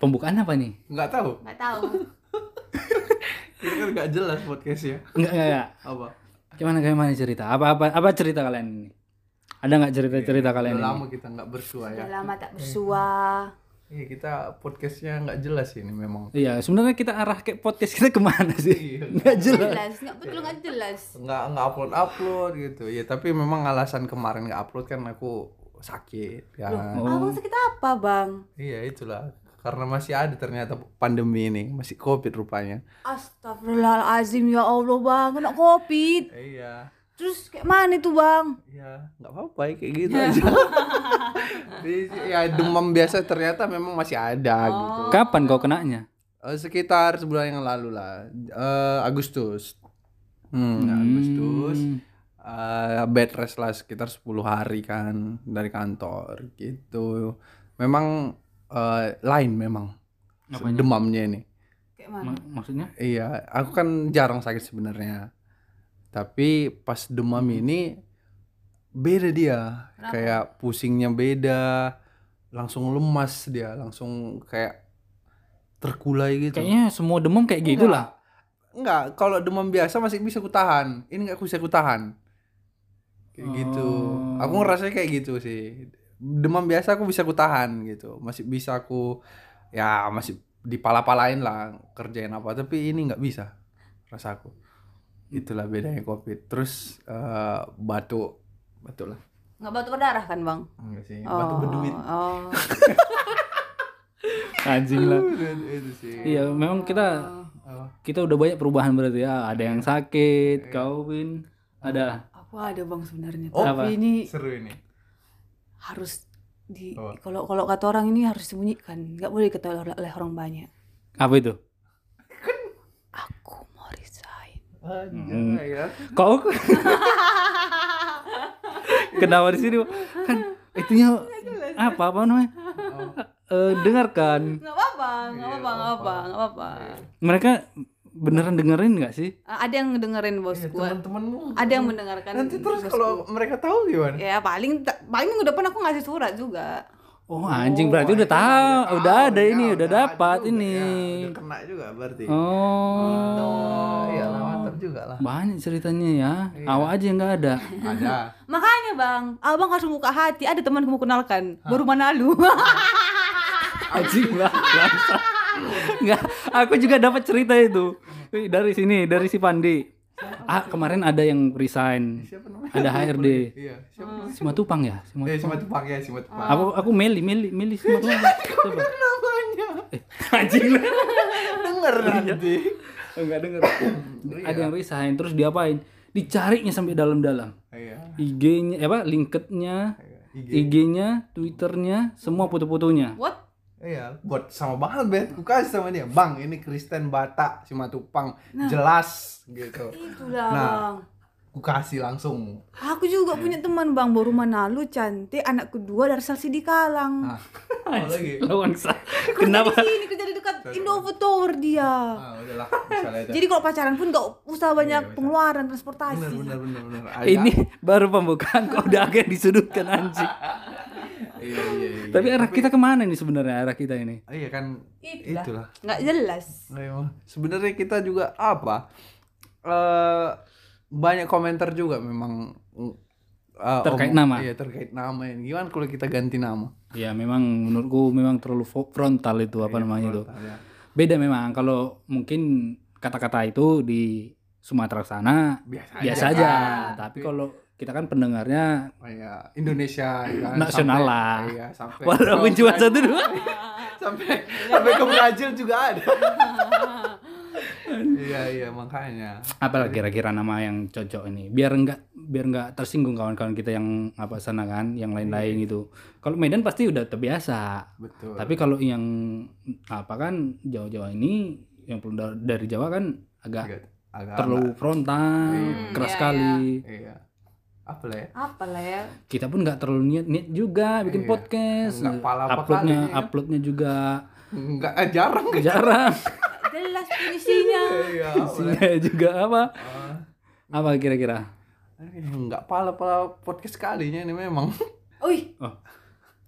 Pembukaan apa nih? Nggak tahu. nggak tahu Ini kan nggak jelas podcastnya. Enggak, enggak, enggak. Apa? Gimana gimana cerita? Apa apa apa cerita kalian ini? Ada nggak cerita-cerita kalian Udah ini? lama kita nggak bersua ya. udah lama tak bersua Iya kita podcastnya nggak jelas ini memang. Iya, sebenarnya kita arah ke podcast kita kemana sih? Iya. Nggak jelas. jelas nggak betul nggak jelas Nggak nggak upload upload gitu. Ya tapi memang alasan kemarin nggak upload kan aku sakit kan. Oh. abang sakit apa bang Iya itulah. Karena masih ada ternyata pandemi ini masih covid rupanya. Astagfirullahalazim ya Allah bang kena covid Iya. terus kayak mana itu bang Iya, nggak apa-apa ya, kayak Iya. gitu aja. Jadi, ya demam biasa ternyata memang masih ada gitu. Kapan kau kenanya? Eh, sekitar sebulan yang lalu lah, Eh, Agustus. Hmm, Ya, Agustus. Eh, bed rest lah sekitar 10 hari kan dari kantor gitu. Memang eh, lain memang demamnya ini. kayak mana Ma- maksudnya? Iya, aku kan jarang sakit sebenarnya. Tapi pas demam ini beda dia. Kayak pusingnya beda, langsung lemas dia, langsung kayak terkulai gitu. Kayaknya semua demam kayak gitu gitulah. Enggak, kalau demam biasa masih bisa kutahan. Ini enggak bisa kutahan. Kayak gitu. Oh. Aku ngerasanya kayak gitu sih. Demam biasa aku bisa kutahan gitu. Masih bisa aku ya masih dipala-palain lah kerjain apa, tapi ini nggak bisa rasaku. Itulah bedanya Covid. Terus eh, batuk batuk lah. nggak batuk berdarah kan bang Enggak sih, batuk berduit. oh. Anjing lah. Itu sih. Oh, Iya, memang kita Apa? kita udah banyak perubahan berarti ya. Ada yang sakit, Iya. kau win, ada aku ada bang sebenarnya Oh, apa? tapi ini Seru ini. harus di Apa? kalau kalau kata orang ini harus disembunyikan nggak boleh diketahui oleh orang banyak apa itu? aku mau resign Hmm. Anjay ya. Kau kenapa di sini? Kan itunya apa apa namanya? Eh, dengarkan. nggak apa-apa nggak apa-apa nggak apa nggak apa-apa Mereka beneran dengerin nggak sih? ada yang dengerin bosku Teman-temanmu. ada yang mendengarkan Iya, Nanti terus kalau mereka tahu gimana? ya paling paling minggu depan aku ngasih surat juga Oh anjing berarti udah tahu, udah, ada ya, ini, udah ya, dapat ini. udah kena juga berarti. Oh, Iya, lah, mantap juga lah. banyak ceritanya ya. Awak aja yang nggak ada. Ada. makanya bang abang harus buka hati ada teman kamu kenalkan baru manalu Anjing lah, bangsa. Nggak, aku juga dapat cerita itu dari sini, dari si Pandi. Ah, kemarin ada yang resign. Siapa namanya? Ada HRD. Iya, siapa? Simatupang ya? Simatupang. Eh, Simat Tupang ya, Simat Tupang. Aku aku Meli, Meli, Meli Simatupang. Coba. Namanya. Eh, anjing lah. Denger Iya. nanti. Enggak dengar. Ada yang resign, terus diapain? Dicarinya sampai dalam-dalam. Iya. IG-nya eh, apa LinkedIn-nya, IG-nya, Twitter-nya, semua foto-fotonya. what Iya, buat sama banget Ben. Ku kasih sama dia, "Bang, ini Kristen Batak Simatupang jelas." gitu. itulah Nah. bang Ku kasih langsung. aku juga punya teman bang baru manalu cantik anak kedua dari Salsi di Kalang Nah. Oh, lagi. Lawangsa. Kenapa? ini kerja di dekat Indofood Tower dia Ah, udahlah, misalnya aja. jadi kalau pacaran pun gak usah banyak pengeluaran transportasi Iya, Benar, benar, benar, benar. Ada. Eh, Ini baru pembukaan kok udah agak disudutkan anjing. Iya, iya, iya. Tapi arah kita kemana nih sebenarnya arah kita ini? Iya kan Itulah. itulah. nggak jelas Nah, emang. Sebenarnya kita juga apa? eh banyak komentar juga memang mm, eh, Terkait omong- nama. Iya, terkait nama ini. Gimana kalau kita ganti nama? Ya memang menurutku memang terlalu fo- frontal itu apa namanya itu. Tanya. Beda memang kalau mungkin kata-kata itu di Sumatera sana Biasa biasa aja. aja. Tapi kalau kita kan pendengarnya Oh, iya. Indonesia ya kan? Nasional Sampai- lah. Iya, sampai. walaupun cuma satu dua. sampai sampai ke Brazil juga ada. iya, iya, makanya. apa kira-kira nama yang cocok ini biar enggak biar enggak tersinggung kawan-kawan kita yang apa sana kan yang lain-lain gitu kalau Medan pasti udah terbiasa Betul. tapi kalau yang apa kan Jawa-Jawa ini yang perlu da- dari Jawa kan agak Agak- agak- terlalu frontal Iya. keras Iya, sekali Iya. Apa lah ya? apa lah ya kita pun nggak terlalu niat-niat juga bikin Iya. podcast Nggak pala apa uploadnya kali ya. uploadnya juga Enggak eh, jarang kan? jarang jelas finishingnya Iya. Ah. isinya juga apa apa kira-kira Enggak pala-pala podcast kalinya ini memang. Ui, Oh.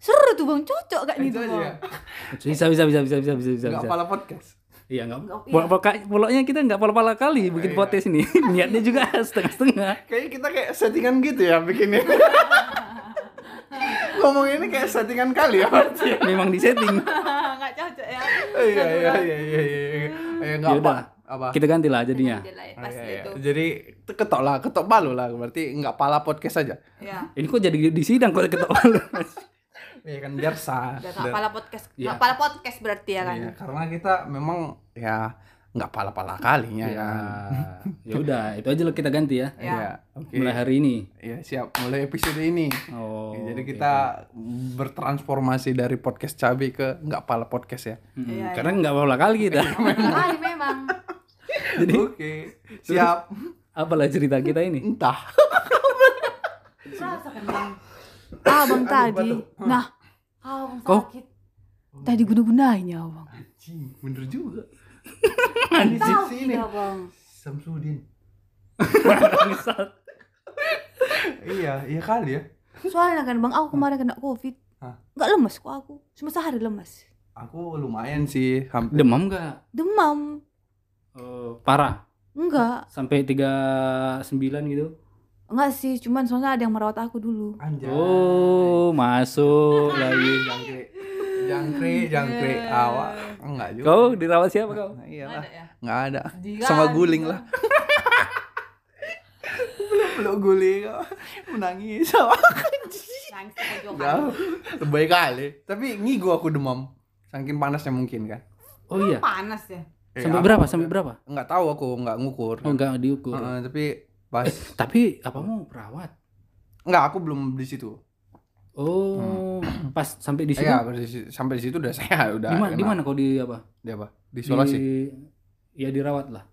Seru tuh bang, cocok gak nih Itu tuh aja ya. bang? Bisa bisa bisa bisa bisa bisa bisa. Enggak bisa. pala podcast. Iya nggak. Nggak- Pol- pol- Poloknya kita nggak pala-pala kali Iya, bikin potes ini. Niatnya juga setengah-setengah. Kayaknya kita kayak settingan gitu ya bikinnya. Ngomong ini kayak settingan kali ya berarti. Memang disetting. Gak cocok ya? Oh, iya iya iya iya iya. Eh enggak apa. Yaudah. Apa? Ya Kita gantilah jadinya. Udah lah ya, Oh, Pas iya, iya. itu Jadi te- ketok lah, ketok palu lah berarti enggak pala podcast aja. Ya, Ini kok jadi di sidang kok ketawa. Iya kan biar sah. udah Dan- gak pala podcast Iya. Gak pala podcast berarti ya kan? Iya, karena kita memang ya enggak pala-pala kalinya Ya. kan. Ya udah, itu aja lah kita ganti ya. Ya. Iya, oke. Mulai hari ini. Iya, siap. Mulai episode ini. Oh. Ya, jadi oke. kita bertransformasi dari podcast cabi ke nggak pala podcast ya. Mm-mm. Iya, Karena nggak pala kali kita. Memang memang Jadi Oke, siap. apalah cerita kita ini? Entah. Rasa kan bang Abang tadi Nah Abang Kok? sakit Tadi guna-gunain ya bang Anjing, bener juga. Tahu sini. tidak bang Samsudin. Misal. iya, iya kali ya. Soalnya kan bang, aku kemarin kena covid Hah? Gak lemes kok aku Cuma sehari lemes Aku lumayan sih hampir. Demam nggak? Demam Eh, parah Enggak sampai 39 gitu. Enggak sih, cuman soalnya ada yang merawat aku dulu Anjay. Oh, masuk lagi. jangkrik. Jangkrik, jangkrik Iya. awak. Enggak juga. Kau dirawat siapa kau? Nah, iyalah. ya? Enggak ada. Iya, Jiran. Sama gitu. guling lah. Peluk guling kau. menangis sama Nangis aku Jauh, Ya, lebay kali. Tapi ngigo aku demam. Saking panasnya mungkin kan. Oh iya. Panas ya? Sampai berapa? Sampai berapa? Enggak Eh, tahu aku, enggak ngukur. Oh, enggak diukur. Heeh, tapi Eh, pas Tapi apa mau perawat? enggak aku belum di situ. Oh, pas sampai di situ. Iya, pas di situ- sampai di situ udah saya udah Di mana kena. di mana kau di apa? Di apa? Di isolasi. Di- Ya dirawat lah.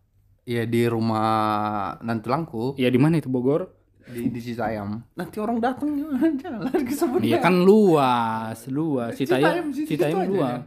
Iya, di rumah nantulangku Ya di mana itu Bogor? di di Citayam. Nanti orang datang jalan ke sebut. Iya kan luas, luas. Citayam, Eh, Citayam, Citayam situ aja ya. luas.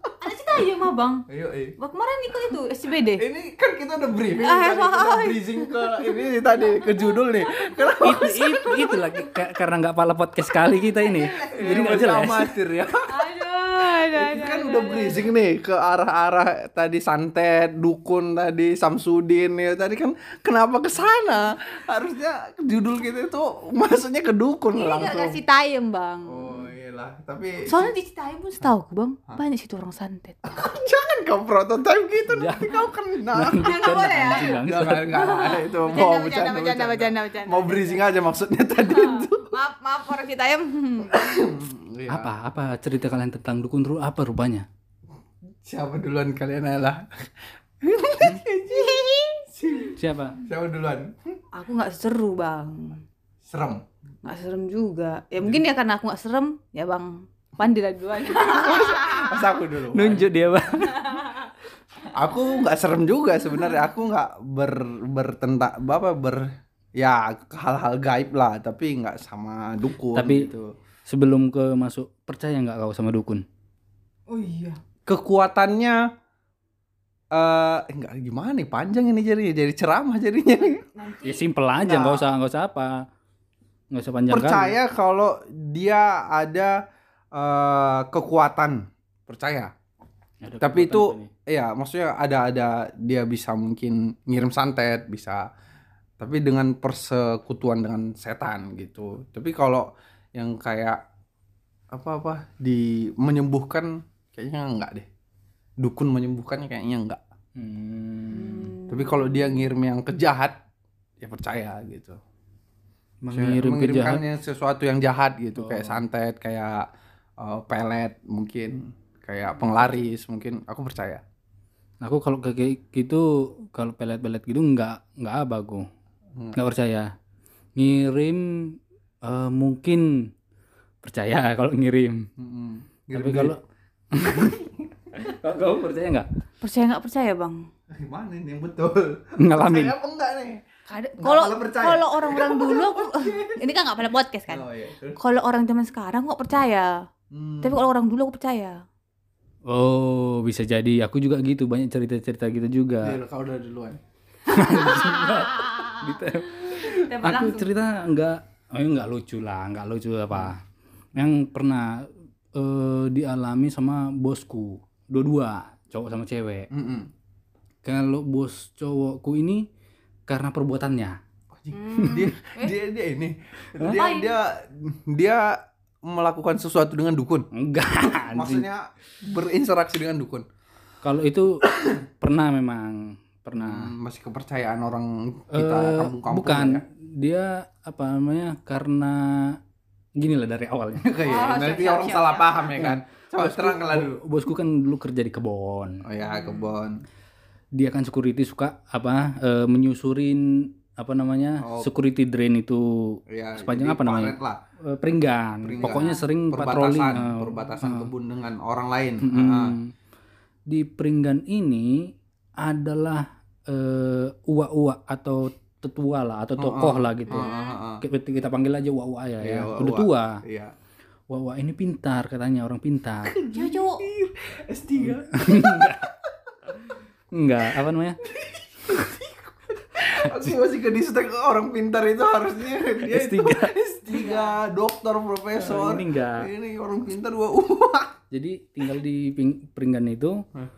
Ada cerita ya mah bang Ayo, eh. ayo. Bang, kemarin ikut itu SCBD Ini kan kita udah briefing, Ah, tadi kita udah soalnya. bridging ke ini tadi ke judul nih. Kenapa itu, itu, itu lagi ka- karena nggak pala podcast kali kita ini. Jadi nggak jelas. Amatir ya. Aduh, Ini kan udah bridging nih ke arah-arah tadi santet, dukun tadi, Samsudin ya. Tadi kan kenapa ke sana? Harusnya judul kita itu masuknya ke dukun Ini gak langsung. kasih tayem bang Oh iyalah, tapi Soalnya di Citayam pun setahu aku bang Banyak situ orang santet jangan kau prototype gitu nanti kau kena. Gak boleh ya? Bilang, Jangan, enggak itu mau Bercanda, bercanda, Oh, bercanda, bercanda, bercanda, bercanda. Ah. Mau bridging aja maksudnya tadi itu. Maaf, maaf orang Citayam Iya. Apa apa cerita kalian tentang dukun ru apa rupanya? Siapa duluan kalian lah? Siapa? Siapa duluan? Aku gak seru bang Serem. Gak serem juga Ya mungkin ya karena aku gak serem Ya bang Pandi lah duluan Pas aku dulu. Nunjuk dia, Bang. aku nggak serem juga sebenarnya aku nggak ber bertentang apa ber ya hal-hal gaib lah tapi nggak sama dukun Tapi- gitu. Sebelum ke masuk, percaya nggak kau sama dukun? Oh iya kekuatannya eh enggak gimana nih panjang ini jadi jadi ceramah jadinya Ya simpel aja, Nggak. nggak usah nggak usah apa. Nggak usah kan? panjang kali. percaya kalau dia ada eh kekuatan percaya Ada kekuatan tapi itu apa nih? Iya, maksudnya ada ada dia bisa mungkin ngirim santet, bisa tapi dengan persekutuan dengan setan gitu. Tapi kalau yang kayak apa-apa di menyembuhkan kayaknya enggak deh. Dukun menyembuhkannya kayaknya enggak. Hmm, Tapi kalau dia ngirim yang kejahat ya percaya gitu. mengirim kejahat. Mengirimkannya sesuatu yang jahat gitu, Oh. kayak santet, kayak eh, pelet mungkin, kayak penglaris mungkin aku percaya. Nah, Aku kalau kayak gitu, kalau pelet-pelet gitu nggak nggak apa aku. Hmm. Nggak percaya. Ngirim eh, mungkin percaya kalau ngirim. Mm-mm. Ngirim Tapi duit. kalau Kau- kau percaya nggak? Percaya gak percaya bang Gimana ini yang betul? Ngalamin. Percaya apa enggak nih? Kada- Nggak Kalau pernah percaya. kalau orang-orang dulu aku Ini kan gak pernah podcast kan Oh iya. terus? Kalau orang zaman sekarang aku gak percaya Hmm. Tapi kalau orang dulu aku percaya Oh, bisa jadi. Aku juga gitu, banyak cerita-cerita gitu juga. Dil, kau udah duluan. Hmm. Aku cerita nggak, eh, nggak lucu lah, nggak lucu apa. Yang pernah eh, dialami sama bosku dua-dua cowok sama cewek Mm-mm. kalau bos cowokku ini karena perbuatannya Oh, Anjing, dia dia dia ini dia Hmm. Ngapain? dia dia melakukan sesuatu dengan dukun enggak anjing. maksudnya berinteraksi dengan dukun kalau itu pernah memang pernah Hmm, masih kepercayaan orang Ah. Eh, kita kampung-kampung bukan ya. dia apa namanya karena gini lah dari awalnya Kayak Oh, nanti siap, orang siap, salah siap. paham ya kan Hmm. coba terang lah dulu Bo- bosku kan dulu kerja di kebon oh ya kebon dia kan security suka apa eh, menyusurin apa namanya Oh. security drain itu ya Sepanjang jadi apa namanya? planet lah eh, peringgan. Peringgan. pokoknya sering patroli Hmm. eh, perbatasan perbatasan eh, kebun dengan orang lain mm-mm. Ah, di peringgan ini adalah eh, uwa-uwa atau tetua lah atau Oh, tokoh oh. lah gitu ah, ah, ah, ah. kita, kita panggil aja uwa-uwa ya, Iya, ya. uwa-uwa. udah tua iya uwa-uwa ini pintar katanya orang pintar Cowok-cowok. S3 enggak apa namanya masih masih ke distek orang pintar itu harusnya dia itu S3. S3 dokter profesor ini enggak Gitu. ini orang pintar gua uang Jadi tinggal di ping- peringgan itu Hah.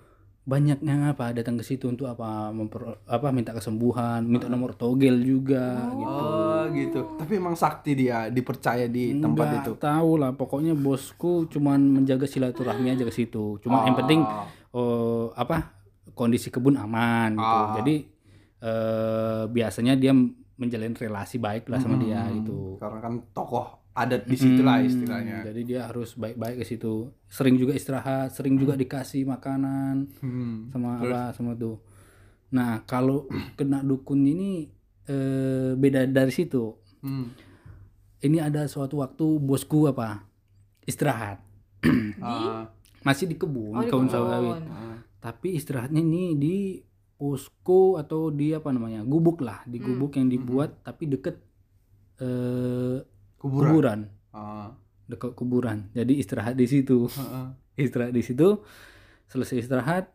banyaknya apa datang ke situ untuk apa memper, apa minta kesembuhan, minta nomor togel juga gitu. Oh gitu. Tapi emang sakti dia dipercaya di Nggak tempat itu. tahu lah pokoknya bosku cuman menjaga silaturahmi aja ke situ. Cuma yang penting Oh. eh, apa kondisi kebun aman gitu. Ah. Jadi eh, biasanya dia menjalin relasi baik lah sama dia Hmm, gitu. Karena kan tokoh adat di situ lah Mm, istilahnya. Jadi dia harus baik-baik ke situ. Sering juga istirahat, sering juga dikasih makanan. Hmm. sama Terus? apa sama tuh. Nah kalau kena dukun ini eh, beda dari situ. Hmm. Ini ada suatu waktu bosku apa istirahat Ah, masih di kebun Oh, di kebun kebun. sawit sawit. ah. Tapi istirahatnya ini di posko atau di apa namanya gubuk lah di Hmm. gubuk yang dibuat tapi deket eh, kuburan. kuburan Ah, deket kuburan. Jadi istirahat di situ ah, ah. istirahat di situ selesai istirahat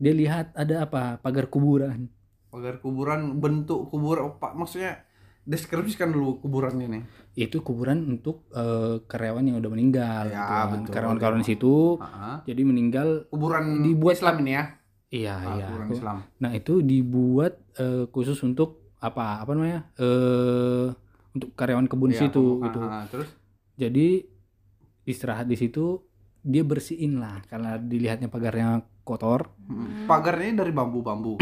dia lihat ada apa pagar kuburan Pagar kuburan bentuk kuburan pak maksudnya deskripsikan dulu kuburan ini. itu kuburan untuk eh, karyawan yang udah meninggal Ya, gitu kan. betul. karyawan-karyawan di situ Ah, ah. jadi meninggal Kuburan Dibuat- Islam ini ya. iya Ah, iya Kuburan Islam. nah itu dibuat eh, khusus untuk apa apa namanya eh untuk karyawan kebun Iya, situ ah, gitu ah, Terus jadi istirahat di situ dia bersihin lah karena dilihatnya pagarnya kotor hmm. pagarnya dari bambu-bambu.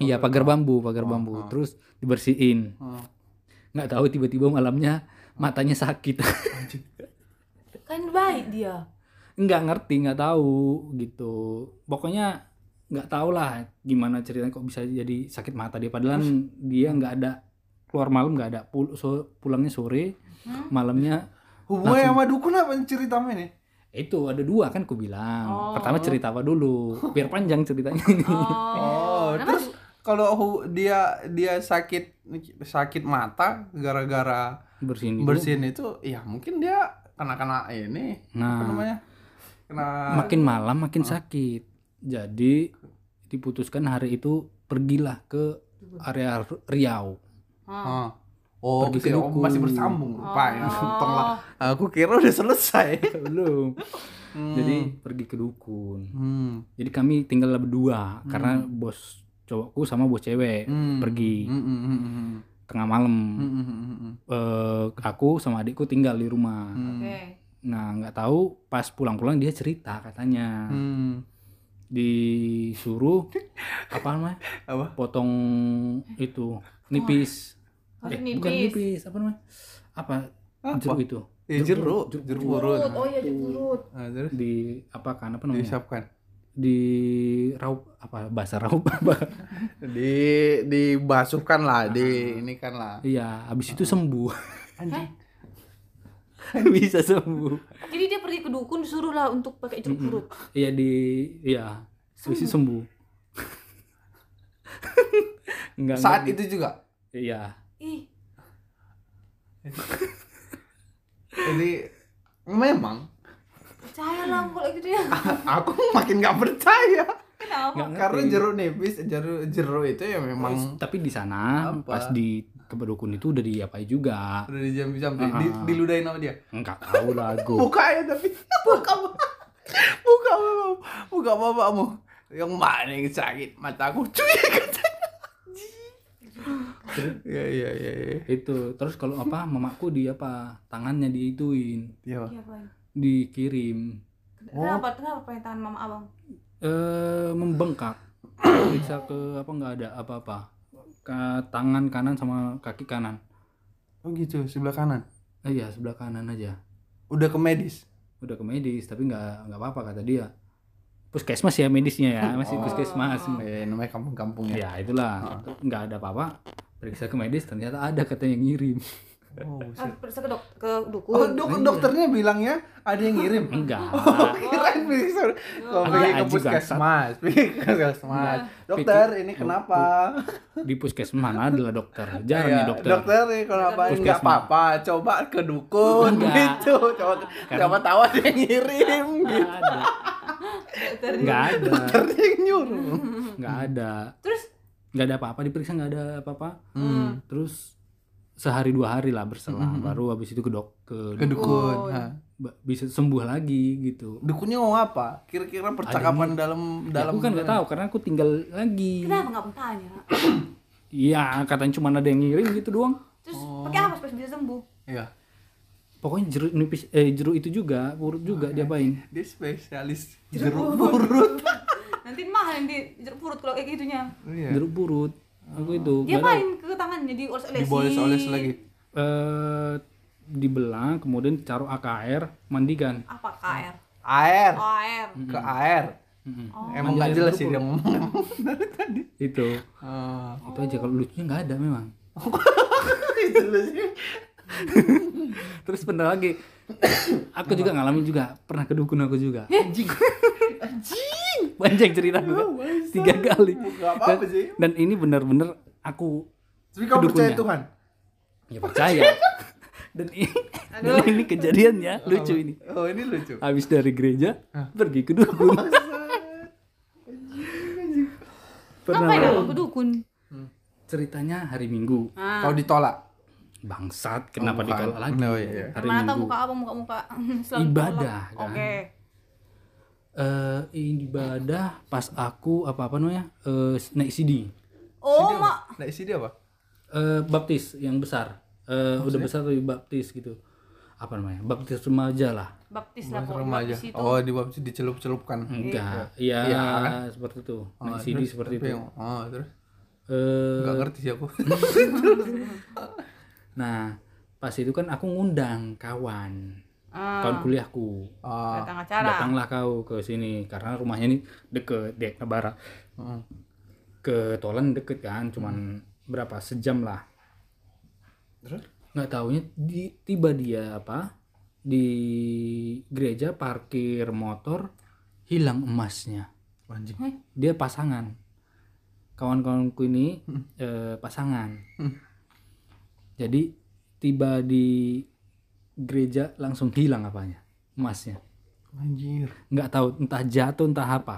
iya pagar bambu pagar Oh, bambu ah. terus dibersihin Ah. nggak tahu tiba-tiba malamnya matanya sakit Kan baik dia. nggak ngerti nggak tahu gitu pokoknya nggak tahu lah gimana ceritanya kok bisa jadi sakit mata dia padahal dia nggak ada keluar malam nggak ada Pul- so- pulangnya sore Hmm? malamnya Hubungannya Langsung. sama dukun apa ceritanya ini? itu ada dua kan ku bilang Oh. pertama cerita apa dulu biar panjang ceritanya Oh, Nah, terus kalau hu- dia dia sakit sakit mata gara-gara bersihin dulu. bersin itu, ya mungkin dia kena-kena ini apa nah namanya? Kena makin malam makin sakit jadi diputuskan hari itu pergilah ke area R- Riau Oh. Ah. Oh, Pergi ke berarti oh, dukun. masih bersambung ya, rupanya. Untung lah. Oh. Aku kira udah selesai. belum Hmm. jadi pergi ke dukun hmm. Jadi kami tinggal berdua Hmm. karena bos cowokku sama bos cewek Hmm. pergi. Hmm, hmm, hmm, hmm. tengah malam. Hmm, hmm, hmm, hmm, hmm. Eh, aku sama adikku tinggal di rumah. Hmm. Oke. Nah nggak tahu pas pulang-pulang dia cerita katanya Hmm. disuruh apa namanya? Apa? Oh. Potong itu nipis. Harus Eh, bukan nipis. nipis apa namanya? Apa Apa? jeruk itu Ya, jeruk, Jeruk. jeruk Turut. urut. Oh iya dia turut. Nah, terus di apa kan apa namanya? disiapkan. Di raup apa bahasa raup apa? Di dibasuhkan lah, di ini kan lah. Iya, habis itu sembuh. Anjing. Bisa sembuh. Eh, Jadi dia pergi ke dukun disuruh lah untuk pakai jeruk Mm-mm. purut. Iya di iya sisi Hmm. sembuh. enggak, Saat enggak. itu juga. Iya. Ih, Jadi memang percayalah kalau gitu ya. aku makin gak percaya. Kenapa? Nggak ngerti. Oh, Karena jeruk nipis, jeruk jeruk itu ya memang tapi di sana Apa? pas di kebedukun itu udah diapain juga udah dijam-jampi, Ah. di, diludahin sama dia. enggak tahu lah gue Buka ya tapi buka buka bapak, buka bapakmu. Yang mana yang sakit mataku cuy katanya. Ya ya ya ya. itu terus kalau apa mamaku di apa tangannya diituin Iya, Pak. Iya, Bang. dikirim Oh. Kenapa? Kenapa pengen tangan mama abang? eh membengkak periksa ke apa nggak ada apa-apa ke tangan kanan sama kaki kanan Oh gitu, sebelah kanan. Eh, iya sebelah kanan aja Udah ke medis. udah ke medis tapi nggak nggak apa-apa kata dia puskesmas ya medisnya ya masih Oh. puskesmas Eh, namanya kampung-kampung ya ya. itulah nggak ada apa-apa periksa ke medis ternyata ada kata yang ngirim Oh, Ah, buset. periksa ke dok ke dukun. Oh, dok- dokternya bilangnya ada yang ngirim. enggak Oh. Kirain pilih sorry. Kalau Ada pergi ke aja, puskesmas, pergi ke puskesmas. Dokter, ini kenapa? di puskesmas mana adalah dokter jarang ya Iya, dokter, dokter ini kenapa? Enggak Puskesmas. apa-apa, coba ke dukun Enggak. gitu. Coba siapa tahu ada yang ngirim gitu. nggak ada nggak ada Dokter yang nyuruh. nggak ada Terus nggak ada apa-apa diperiksa nggak ada apa-apa Hmm. terus sehari dua hari lah berselang baru habis itu ke dok ke, Ke dukun. Dukun. ha. ba- bisa sembuh lagi gitu Dukunnya mau apa? Kira-kira percakapan dalam Ya, dalam aku kan nggak tahu karena aku tinggal lagi kenapa nggak pernah tanya? iya katanya cuma ada yang ngirim gitu doang Terus pakai apa supaya bisa sembuh? Iya. pokoknya jeruk nipis eh jeruk itu juga purut Oh, juga iya. diapain Dia spesialis jeruk purut. Nanti mahal yang di jeruk purut kalau kayak gitunya. Iya. jeruk purut aku itu nggak Dia tahu. main ke tangannya di oles-olesi. Diboles-oles lagi. eh dibelang kemudian ditaruh AKR mandikan Apa Oh, KR? Air. OR. Ke air. Oh. Emang nggak jelas sih dia ngomong dari tadi. itu Ah, itu aja kalau lucunya nggak ada memang terus pernah lagi aku juga ngalamin juga pernah ke dukun aku juga anjing panjang cerita gue tiga kali Nggak apa-apa Dan- sih. dan ini benar-benar aku Tapi kamu percaya Kedukunya. Tuhan? ya percaya dan ini dan ini kejadiannya lucu ini Oh ini lucu. habis dari gereja pergi ke dukun pernah Ngapain abang ke dukun? ceritanya hari minggu Kau ditolak. bangsat kenapa ditolak lagi Oh, iya, iya. hari Mana tahu minggu muka abang muka-muka selalu Ibadah, ditolak. kan? Oke. eh ini ibadah pas aku apa apa namanya eh naik CD Oh, mak. Nah isi dia apa? eh baptis yang besar eh ya? udah besar tapi baptis gitu apa namanya baptis remaja lah Baptis lah pokoknya. Remaja. Baptis itu. Oh di bawah itu dicelup-celupkan. enggak ya, Iya, seperti itu Oh, naik CD terus- seperti tapi itu yang- Oh terus? eh Nggak ngerti sih aku. nah pas itu kan aku ngundang kawan Ah, kawan kuliahku Ah, datang acara. datanglah kau ke sini karena rumahnya ini deket dek Nebara mm. ke Tolan deket kan cuman berapa sejam lah Terus? nggak taunya di, tiba dia apa di gereja parkir motor hilang emasnya Anjing. dia pasangan kawan-kawanku ini eh, pasangan jadi tiba di gereja langsung hilang apanya emasnya Anjir. nggak tahu entah jatuh entah apa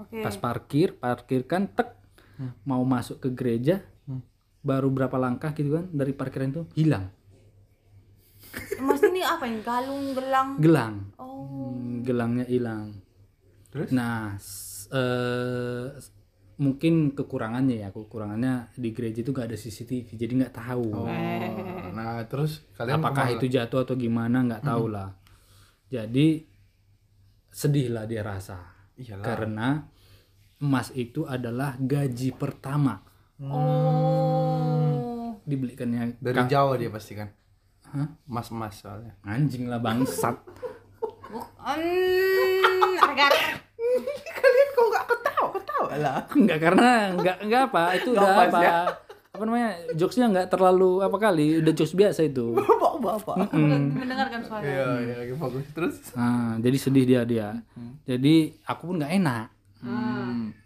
Oke. pas parkir parkir kan tek mau masuk ke gereja baru berapa langkah gitu kan dari parkiran itu hilang Eh, Mas ini apa ini? Galung, gelang. gelang Oh. Hmm, gelangnya hilang Terus? nah s- eh, s- mungkin kekurangannya ya kekurangannya di gereja itu gak ada CCTV jadi nggak tahu Oh, Nah terus kalian apakah kemana? itu jatuh atau gimana nggak tahu lah jadi sedih lah dia rasa Iyalah. karena emas itu adalah gaji pertama Hmm. Oh. dibelikannya dari ka- Jawa dia pasti kan. Hah? Mas mas soalnya. anjing lah bangsat Bukan. Harga. kalian kok nggak ketawa ketawa lah. nggak karena nggak nggak apa itu udah Nggak pas apa ya? apa namanya jokesnya nggak terlalu apa kali udah jokes biasa itu Bapak bapak. Mendengarkan suara. Iya iya lagi bagus terus. Nah, jadi sedih dia dia. Hmm. Jadi aku pun nggak enak.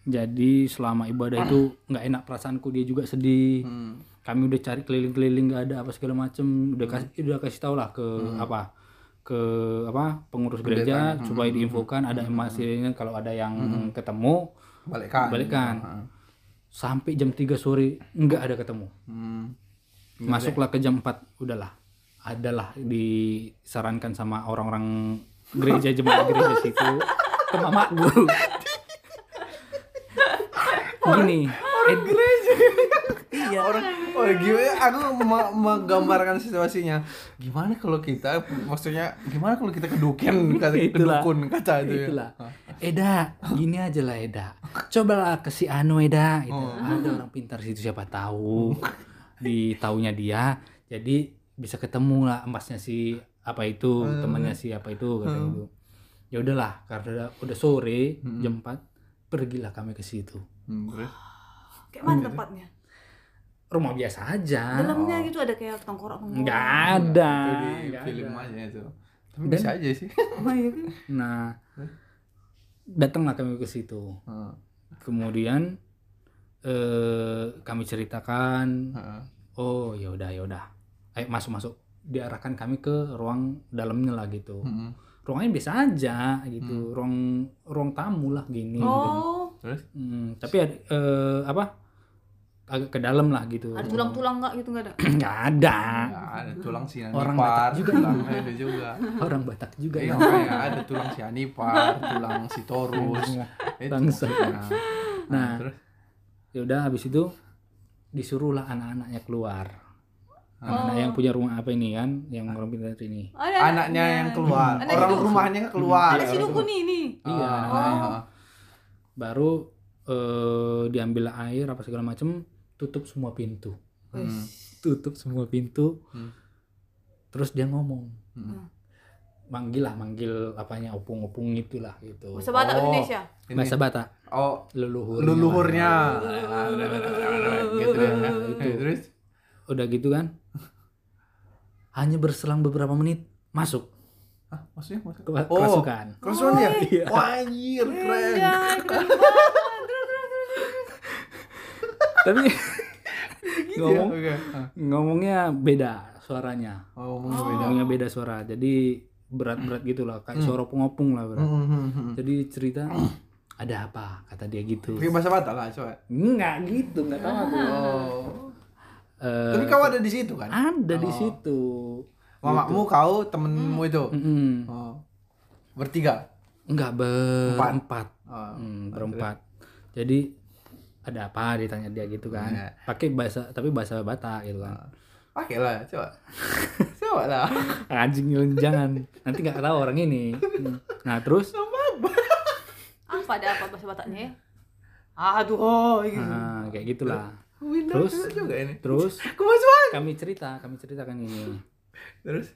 Jadi selama ibadah itu nggak enak perasaanku dia juga sedih. Hmm. Hmm. Kami udah cari keliling-keliling nggak ada apa segala macem. Udah kasih udah kasih tau lah ke apa ke apa pengurus Pendeta, gereja mm, supaya mm, diinfokan mm, ada mm, masih kalau ada yang Mm. ketemu Balikkan. Nah, Balikkan. Heeh. sampai jam 3 sore nggak ada ketemu Hmm. Gitu masuklah ke jam 4 udahlah adalah disarankan sama orang-orang gereja jemaat gereja situ ke mama gue gini Ed- deh. orang oh gimana aku me- menggambarkan situasinya gimana kalau kita maksudnya gimana kalau kita keduken kata Itulah. kedukun kata itu ya? itulah Eda gini aja lah Eda cobalah ke si Anu Eda gitu. Oh. ada orang pintar situ siapa tahu di taunya dia jadi bisa ketemu lah emasnya si apa itu Hmm. temannya si apa itu kata gitu. ya udahlah karena udah sore Hmm. jam 4 pergilah kami ke situ Hmm, terus? Kayak mana Gitu. tempatnya? rumah biasa Ah. aja Dalamnya gitu ada kayak tengkorak tengkorak. nggak ada itu di nggak film ada. aja itu tapi Dan- bisa aja sih kan? nah datanglah kami ke situ Heeh. kemudian eh kami ceritakan Heeh. oh ya udah ya udah ayo masuk masuk diarahkan kami ke ruang dalamnya lah gitu Heeh. ruangnya biasa aja gitu ruang ruang tamu lah gini gitu. Oh, terus Hmm, tapi ada, eh, apa agak ke dalam lah gitu ada tulang-tulang nggak gitu nggak ada? nggak ada Nggak ada tulang si Ah. Orang Anipar, Batak juga. tulangnya ada juga. orang Batak juga Iya, ya makanya ada tulang si Anipar, tulang si Torus. Itu Bangsa. maksudnya. Nah. terus ya udah habis itu disuruhlah anak-anaknya keluar anak-anak yang punya rumah apa ini kan yang orang pintar ini Ada anaknya yang keluar, Iya. Anak orang hidup. rumahnya keluar. Ada si dukun ini. Iya, Oh. Iya. anak-anak. baru eh, diambil air apa segala macem tutup semua pintu Hmm. tutup semua pintu Hmm. terus dia ngomong Hmm. manggil lah manggil apanya opung-opung itulah gitu Bahasa Batak Oh. Indonesia. Ini. bahasa Batak Oh, leluhur leluhurnya. gitu ya. iya. Itu. Terus udah gitu kan hanya berselang beberapa menit masuk Hah, maksudnya maksudnya? ke Oh. kerasukan Kerusuhan dia? Iya. Wah, anjir, keren. Iya, keren banget. tapi Gitu ya? ngomong Oke. Ah. ngomongnya beda suaranya Oh, ngomong beda. ngomongnya beda suara jadi berat-berat gitu lah kayak suara opung-opung lah berat. Hmm, hmm, hmm. jadi cerita ada apa kata dia gitu Pakai bahasa Batak lah, coba. nggak gitu nggak tahu aku Oh. Eh, Tapi kau ada di situ kan? ada di situ Mamamu, Gitu. kau, temenmu Hmm. itu. Mm-mm. Oh. Bertiga. nggak berempat Oh. Hmm, berempat jadi ada apa ditanya dia gitu kan Iya. pakai bahasa tapi bahasa Batak gitu kan Pakai lah, coba. coba lah. anjing jangan nanti nggak tahu orang ini nah terus Apa ada apa bahasa Bataknya ya? Aduh, oh, gitu. nah, kayak gitulah Windows Terus? juga ini. terus Kemasukan. kami cerita kami ceritakan ini Terus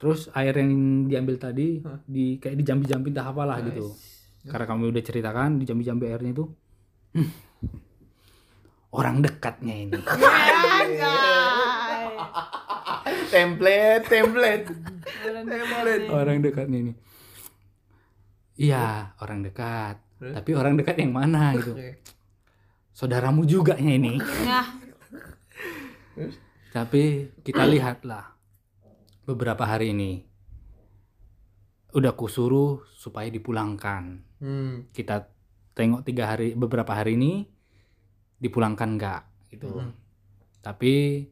terus air yang diambil tadi di kayak dijambi-jambi entah apalah Nice. gitu karena kami udah ceritakan dijambi-jambi airnya itu hmm, orang dekatnya ini template, template. template. orang dekatnya ini iya orang dekat Terus? tapi orang dekat yang mana gitu Oke. saudaramu juga nya ini Nah, tapi kita lihatlah beberapa hari ini udah kusuruh supaya dipulangkan Hmm. kita tengok tiga hari beberapa hari ini dipulangkan nggak gitu Mhm. tapi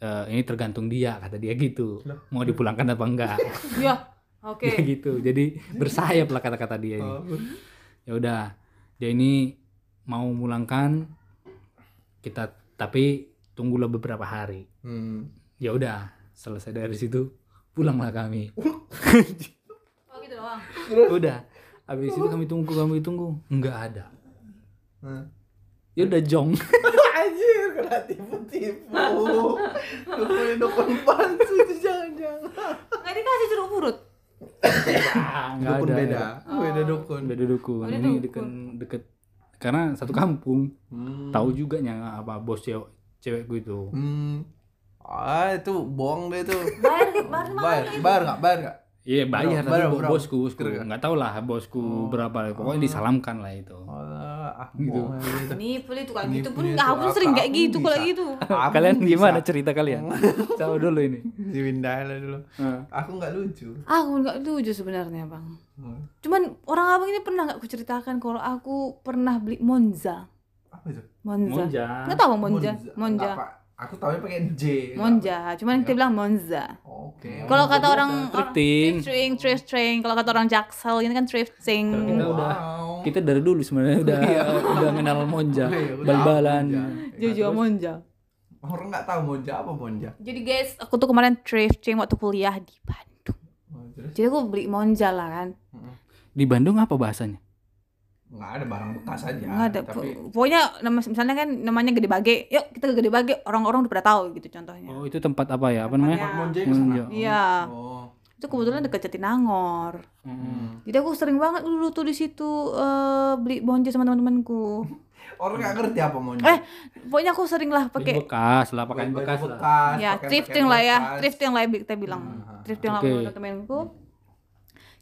eh, ini tergantung dia kata dia gitu Loh. mau dipulangkan apa enggak ya. Dia Oke. gitu jadi bersayap lah kata-kata dia ini Oh. ya udah dia ini mau mulangkan kita tapi tunggulah beberapa hari Hmm. ya udah selesai dari situ pulanglah kami Oh, gitu doang. udah habis itu kami tunggu kami tunggu nggak ada Hmm. ya udah jong Anjir, kena tipu-tipu. Dukun dukun palsu itu jangan-jangan. Nggak dikasih jeruk purut. Ah, nggak Dukun ada beda. Oh. Beda dukun. beda dukun Beda ini dukun. deket deket karena satu kampung Hmm. tahu juga nya apa bos cewek cewek gue itu Hmm. Ah, itu bohong deh itu. Bayar, bayar mahal Bayar, itu. bayar enggak? Bayar enggak? iya bayar Berapa, tapi bo- berapa? bosku bosku Kira-kira. nggak tahu lah bosku Oh. berapa pokoknya disalamkan lah itu Oh, ah Gitu. bohong aja gitu. Ini pula itu kan Ini gitu pun punya aku itu pun sering apa? kayak Aku gitu kalau bisa. gitu. Aku Nah, kalian bisa. gimana cerita kalian tahu dulu ini si Winda lah ah. dulu Heeh. aku nggak lucu Ah, Aku nggak lucu sebenarnya bang. Cuman orang abang ini pernah nggak aku ceritakan kalau aku pernah beli Monza. apa itu Monza. Monja. Nggak tahu bang Monza. Monza. Nggak, Pak. aku tahunya pakai J Monza. Cuman kita bilang Monza. oke Kalau kata biasa, orang thrifting. orang- thrifting, thrifting. Kalau kata orang Jaksel ini kan thrifting. Kalau kita Wow. udah kita dari dulu sebenarnya udah udah kenal Monja, Oke, udah bal-balan. Monja. Jujur Monza. orang nggak tahu Monja apa Monja Jadi guys, aku tuh kemarin thrifting waktu kuliah di Bandung. Oh, terus Jadi aku beli Monza lah kan. Di Bandung apa bahasanya? nggak ada barang bekas aja Nggak ada. Ya, tapi Iya. po- Pokoknya nama, misalnya kan namanya Gede Bage. Yuk kita ke Gede Bage. Orang-orang udah pada tahu gitu contohnya. Oh, itu tempat apa ya? Apa namanya? Tempatnya. Monja ke sana Monja. Iya. oh Itu kebetulan dekat Jatinangor. Hmm. Jadi aku sering banget dulu tuh di situ eh, beli Monza sama teman-temanku. orang nggak Hmm. ngerti apa Monja Eh, pokoknya aku sering lah Baju pakai bekas lah, pakaian Baju bekas lah. ya pakaian-pakaian thrifting lah ya, bekas. thrifting lah ya, kita bilang. Thrifting lah Oke. menurut temanku.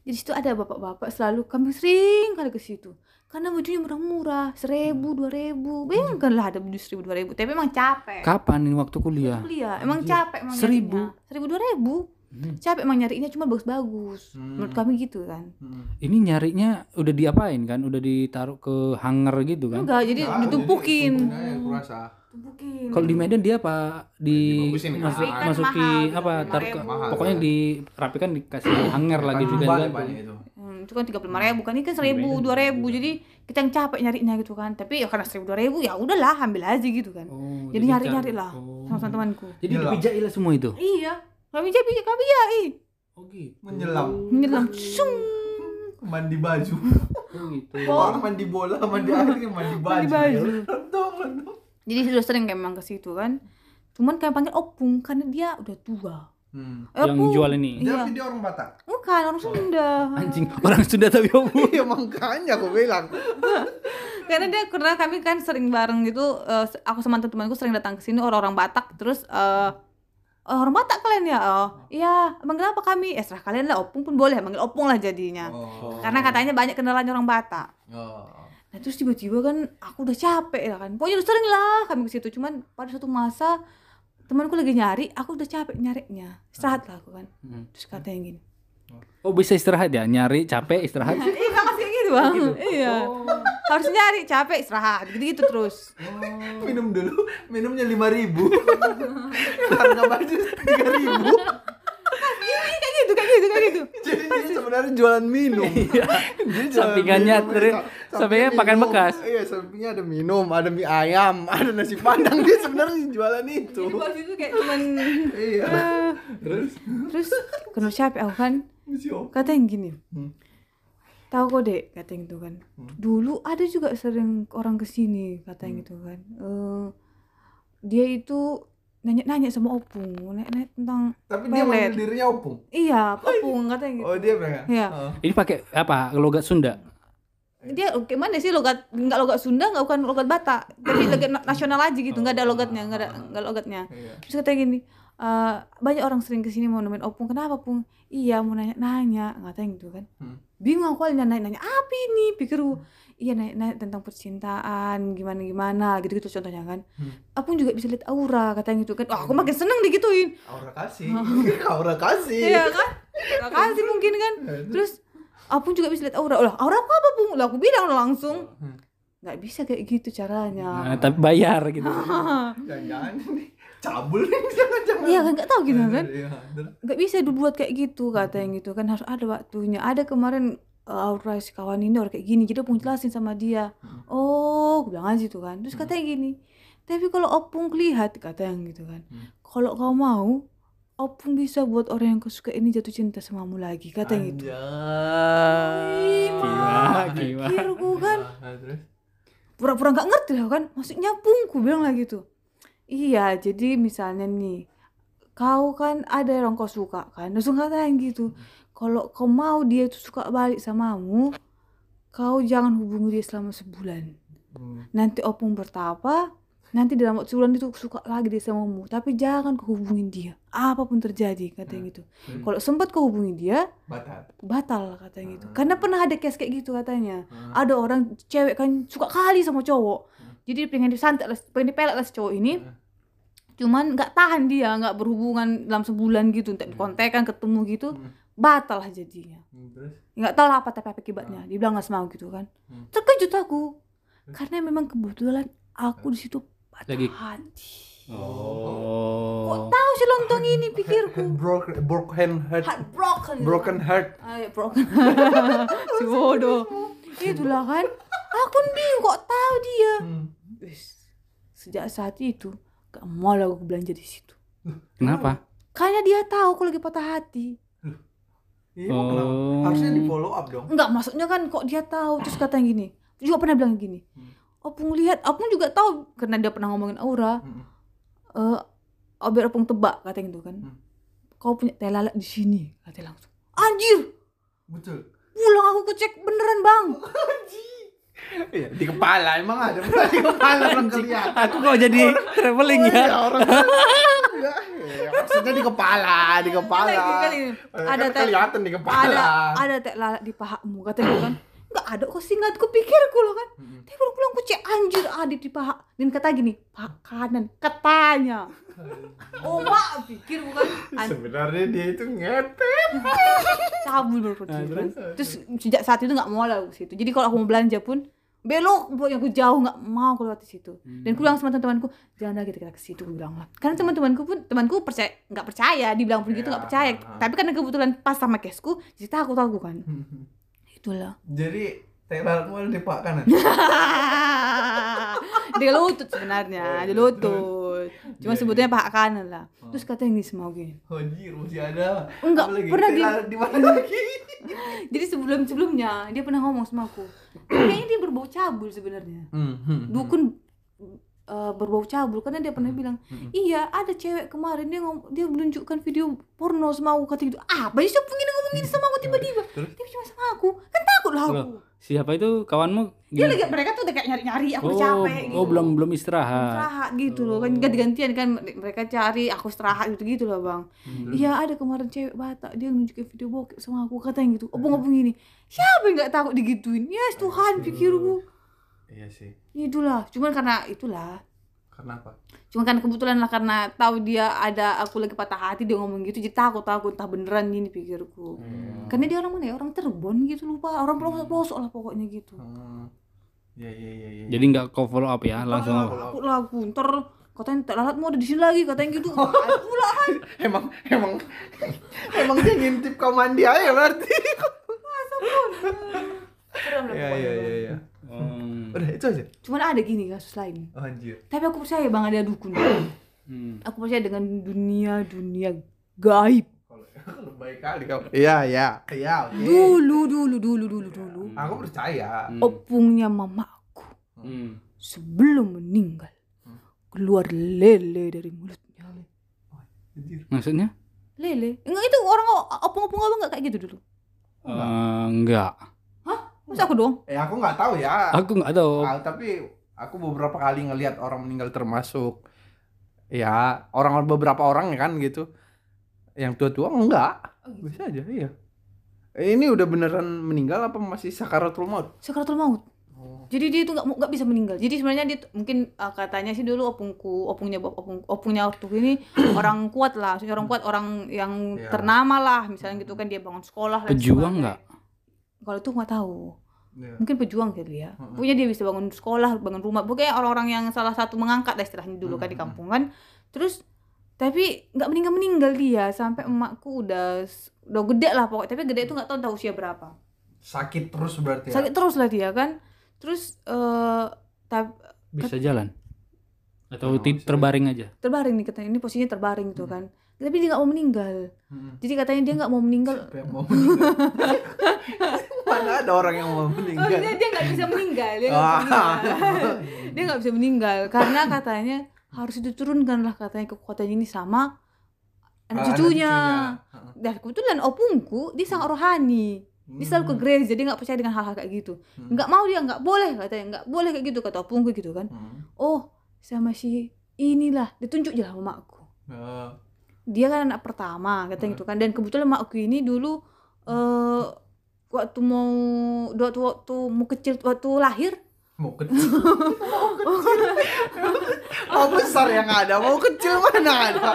Jadi situ ada bapak-bapak selalu kami sering kali ke situ. Karena bajunya murah-murah, seribu, dua ribu. Bayangkanlah ada baju seribu, dua ribu. Tapi emang capek. Kapan ini waktu kuliah? kuliah emang capek emang Seribu? nyarinya. seribu dua ribu Hmm. capek emang nyarinya cuma bagus-bagus Hmm. menurut kami gitu kan Hmm. Ini nyarinya udah diapain kan? Udah ditaruh ke hanger gitu kan? enggak jadi Nggak, ditumpukin ditumpukin aja, aku rasa. tumpukin Kalau di Medan dia apa di Dibagusin kan? masuk, Tapi kan masuki mahal, gitu, apa mahal taruh ke- ya, mahal. pokoknya dirapikan dikasih hanger lagi Paling juga banyak- kan. banyak itu itu kan tiga puluh ribu kan ini kan Iya, seribu dua ribu jadi kita yang capek nyarinya gitu kan tapi ya karena seribu dua ribu ya udahlah ambil aja gitu kan Oh, jadi nyari nyari cari- lah oh. sama temanku Jadi Iya lah. dipijai lah semua itu. iya kami jadi kami ya ih Oh gitu. menyelam nyelam sung mandi baju Oh gitu. orang mandi bola mandi air mandi baju Mandi baju. Rentung, rentung. jadi sudah sering kayak memang ke situ kan cuman kami panggil opung karena dia udah tua Hmm. Eh, Yang Opung. jual ini. Dia- Iya. Tapi dia orang Batak. bukan orang Sunda Anjing, orang Sunda tapi opo. Iya makanya aku bilang. karena dia karena kami kan sering bareng gitu eh, aku sama teman-temanku sering datang ke sini orang-orang Batak terus eh "Oh, orang Batak kalian ya oh iya manggil apa kami eh serah kalian lah opung pun boleh manggil opung lah jadinya Oh. Ya. karena katanya banyak kenalan orang Batak Oh. nah terus tiba-tiba kan aku udah capek lah kan pokoknya udah sering lah kami ke situ cuman pada suatu masa temanku lagi nyari aku udah capek nyarinya istirahat lah aku kan Hmm. terus katanya gini Oh bisa istirahat ya, nyari capek istirahat. Iya nggak kayak gitu bang Iya Harus nyari capek istirahat gitu-gitu terus Minum dulu, minumnya lima ribu. Harga baju tiga ribu. Kayak gitu kayak gitu kayak gitu Jadi dia sebenarnya jualan minum. Dia jualan Sampingannya minum, ter- ya. sampingnya pakaian minum. bekas. Iya, sampingnya ada minum, ada mie ayam, ada nasi padang. Dia sebenarnya jualan itu. Jadi bos itu kayak cuman Iya. eh, Terus Terus Kenal capek aku kan siapa? Kata yang gini Hmm. Tahu kok dek Kata yang gitu kan Dulu ada juga sering orang kesini Kata Hmm. yang gitu kan Eh, Dia itu Nanya-nanya sama opung Nanya-nanya tentang Tapi dia Pelet. manggil dirinya opung. Iya opung Kata yang gitu Oh, dia mereka. Iya. Oh. Ini pakai apa? Logat Sunda. dia gimana sih logat nggak logat Sunda nggak bukan logat Batak tapi logat na- nasional aja gitu nggak ada logatnya nggak ada nggak logatnya Iya. terus katanya gini "Eh, banyak orang sering kesini mau nemuin opung kenapa pung iya mau nanya nanya katanya gitu kan Hmm. bingung aku nanya nanya, nanya apa ini pikirku iya nanya, nanya tentang percintaan gimana gimana gitu gitu contohnya kan opung juga bisa lihat aura katanya gitu kan Wah, aku makin seneng digituin Aura kasih. Aura kasih. Iya. iya kan Terima kasih mungkin kan terus Apung juga bisa lihat aura. Lah, aura aku apa, Pung? Lah, aku bilang langsung. Hmm. Nggak bisa kayak gitu caranya. Nah, tapi bayar gitu. Jangan-jangan nih, cabul nih jangan-jangan. Iya kan, nggak tahu gitu kan. Iya, bener. nggak bisa dibuat kayak gitu kata yang gitu kan harus ada waktunya ada kemarin uh, aura si kawan ini orang kayak gini jadi opung jelasin sama dia oh gue bilang aja tuh kan terus katanya gini tapi kalau opung lihat kata yang gitu kan Hmm. kalau kau mau opung bisa buat orang yang kau suka ini jatuh cinta samamu lagi kata yang gitu Anjay. Gila, gila. pikirku kan Nah, terus? pura-pura nggak ngerti lah kan maksudnya pung ku bilang lagi tuh iya jadi misalnya nih kau kan ada yang kau suka kan langsung katain gitu kalau kau mau dia tuh suka balik samamu kau jangan hubungi dia selama sebulan Hmm. nanti opung bertapa nanti dalam waktu sebulan itu suka lagi dia samamu tapi jangan kau hubungin dia apapun terjadi katanya gitu Hmm. kalau sempat kau hubungi dia Batat. batal katanya gitu Hmm. karena pernah ada case kayak gitu katanya Hmm. ada orang cewek kan suka kali sama cowok Hmm. jadi dia pengen disantet lah pengen dipelek lah si cowok ini Hmm. cuman nggak tahan dia nggak berhubungan dalam sebulan gitu entek Hmm. dikontekan ketemu gitu Hmm. batal lah jadinya Terus? nggak tahu lah apa tapi apa akibatnya dia bilang nggak semau gitu kan Hmm. terkejut aku karena memang kebetulan aku di situ patah Lagi- hati kok Oh. tahu si lontong ini pikirku Broken, broken heart. heartbroken gitu Broken heart. Ay, broken. Oh. si bodoh. Itulah kan. Aku bingung kok tahu dia. Hmm. Wis, Sejak saat itu gak mau lah aku belanja di situ. Kenapa? Karena dia tahu aku lagi patah hati. Iya, kenapa? Oh. Harusnya di follow up dong. Enggak maksudnya kan kok dia tahu terus katanya gini. Juga pernah bilang gini. Opung lihat, Opung juga tahu karena dia pernah ngomongin Aura. Hmm. Eh, oh, biar Opung tebak katanya gitu kan. Hmm. Kau punya telalat di sini katanya langsung. Anjir, Betul. pulang aku kecek beneran bang. Iya, di kepala emang ada bukan di kepala orang kelihatan. Aku kok jadi traveling Oh, ya? iya, orang. Ya, iya, maksudnya di kepala, di kepala. Lagi kan ini. Eh, Ada kan tel- kelihatan di kepala. ada ada teh lalat di pahamu katanya gitu kan nggak ada kok singkat ku pikirku loh kan tapi pulang pulang ku cek anjir ada di paha dan kata gini paha kanan katanya oh kan. mak pikir bukan An- Sebenarnya dia itu ngetet. cabul baru Nah, Ah, pergi kan. terus? terus sejak saat itu nggak mau lah aku situ jadi kalau aku mau belanja pun belok pokoknya aku jauh nggak mau aku lewat di situ dan Hmm. aku bilang sama teman-temanku jangan lagi kita ke situ aku bilang lah karena teman-temanku pun temanku percaya nggak percaya dibilang pun gitu nggak Ya, percaya ah. tapi karena kebetulan pas sama kesku jadi takut aku kan itulah Jadi telan mau di pak kanan. di lutut sebenarnya di lutut Oh, gitu. Iya, cuma Oh. sebutnya paha kanan lah terus katanya ini semau gini Hojir masih ada. Apa Enggak, lagi? pernah Teh di- lalat di mana lagi? jadi sebelum sebelumnya dia pernah ngomong sama aku kayaknya dia berbau cabul sebenarnya Mhm. Hmm. dukun kan, eh, berbau cabul karena dia pernah bilang Hmm. iya ada cewek kemarin dia ngom- dia menunjukkan video porno sama aku kata gitu ah banyak sih pengen ngomongin sama aku tiba-tiba Terus? dia cuma sama aku kan takut lah aku Loh, siapa itu kawanmu? dia Gimana? lagi mereka tuh udah kayak nyari-nyari aku udah Oh, capek gitu oh belum belum istirahat. istirahat gitu loh kan ganti-gantian kan mereka cari aku istirahat gitu gitu loh bang Hmm, iya ada kemarin cewek batak dia nunjukin video bokep sama aku katanya gitu obong-obong ini siapa yang nggak takut digituin ya yes, Tuhan pikirku Ya Iya sih. itulah cuman karena itulah Kenapa? cuman kan kebetulan lah karena tahu dia ada aku lagi patah hati dia ngomong gitu jadi takut takut entah beneran ini pikirku Hmm. karena dia orang mana ya orang Cirebon gitu lupa orang pelosok pelosok lah pokoknya gitu Hmm. Ya ya ya ya. Jadi nggak kau follow up ya langsung. Takut lah aku ntar katanya tak lalat mau ada di sini lagi katanya gitu aku lah emang emang emang dia ngintip kau mandi aja berarti. Serem lah Iya pokoknya, iya Bang. iya iya. Hmm. Udah itu aja. Cuman ada gini kasus lain. Oh, anjir. Tapi aku percaya bang ada dukun. Hmm. aku percaya dengan dunia dunia gaib. Kalau- Kalau baik kali kau. Iya iya. Iya oke. Dulu dulu dulu dulu dulu. Aku percaya. Oh. Opungnya mamaku Hmm. sebelum meninggal Hmm. keluar lele dari mulutnya. Anjir. Maksudnya? Lele? Enggak itu orang opung-opung apa enggak kayak gitu dulu? Eh, enggak. Masa aku doang? Eh aku nggak tahu ya. Aku nggak tahu. Ah, tapi aku beberapa kali ngelihat orang meninggal termasuk ya orang beberapa orang ya kan gitu. Yang tua-tua enggak. Oh, gitu? Bisa aja iya. Eh, Ini udah beneran meninggal apa masih sakaratul maut? Sakaratul maut. Oh. Jadi dia itu nggak mau- nggak bisa meninggal. Jadi sebenarnya dia tuh- mungkin uh, katanya sih dulu opungku, opungnya bap- opung, opungnya ortu ini orang kuat lah, maksudnya orang kuat, orang yang Iya. ternama lah, misalnya gitu kan dia bangun sekolah. dan Pejuang sebagainya. nggak? Kalau itu nggak tahu, Iya. mungkin pejuang kali ya. Mm-mm. Punya dia bisa bangun sekolah, bangun rumah. Pokoknya orang-orang yang salah satu mengangkat lah istilahnya dulu kan di Mm-mm. kampung kan. Terus tapi nggak meninggal meninggal dia sampai emakku udah udah gede lah pokoknya. Tapi gede itu nggak tahu entah usia berapa Sakit terus berarti ya. sakit terus lah dia kan terus eh tab- Bisa jalan? Atau Oh, ti- bisa. terbaring aja? terbaring nih katanya ini posisinya terbaring Iya. tuh kan tapi dia nggak mau meninggal Hmm. jadi katanya dia nggak mau meninggal Siapa yang mau meninggal? Mana ada orang yang mau meninggal? Oh, dia dia nggak bisa meninggal dia nggak bisa Ah. meninggal. dia nggak bisa meninggal karena katanya harus diturunkan lah katanya kekuatan ini sama anak cucunya Ah, cucunya. dan kebetulan opungku dia sangat rohani dia selalu ke gereja dia nggak percaya dengan hal-hal kayak gitu Hmm. nggak mau dia nggak boleh katanya nggak boleh kayak gitu kata opungku gitu kan Hmm. oh sama si inilah ditunjuk aja lah sama makku Eh, dia kan anak pertama katanya gitu kan dan kebetulan makku ini dulu eh waktu mau waktu waktu mau kecil waktu lahir mau kecil mau kecil mau besar yang ada mau kecil mana ada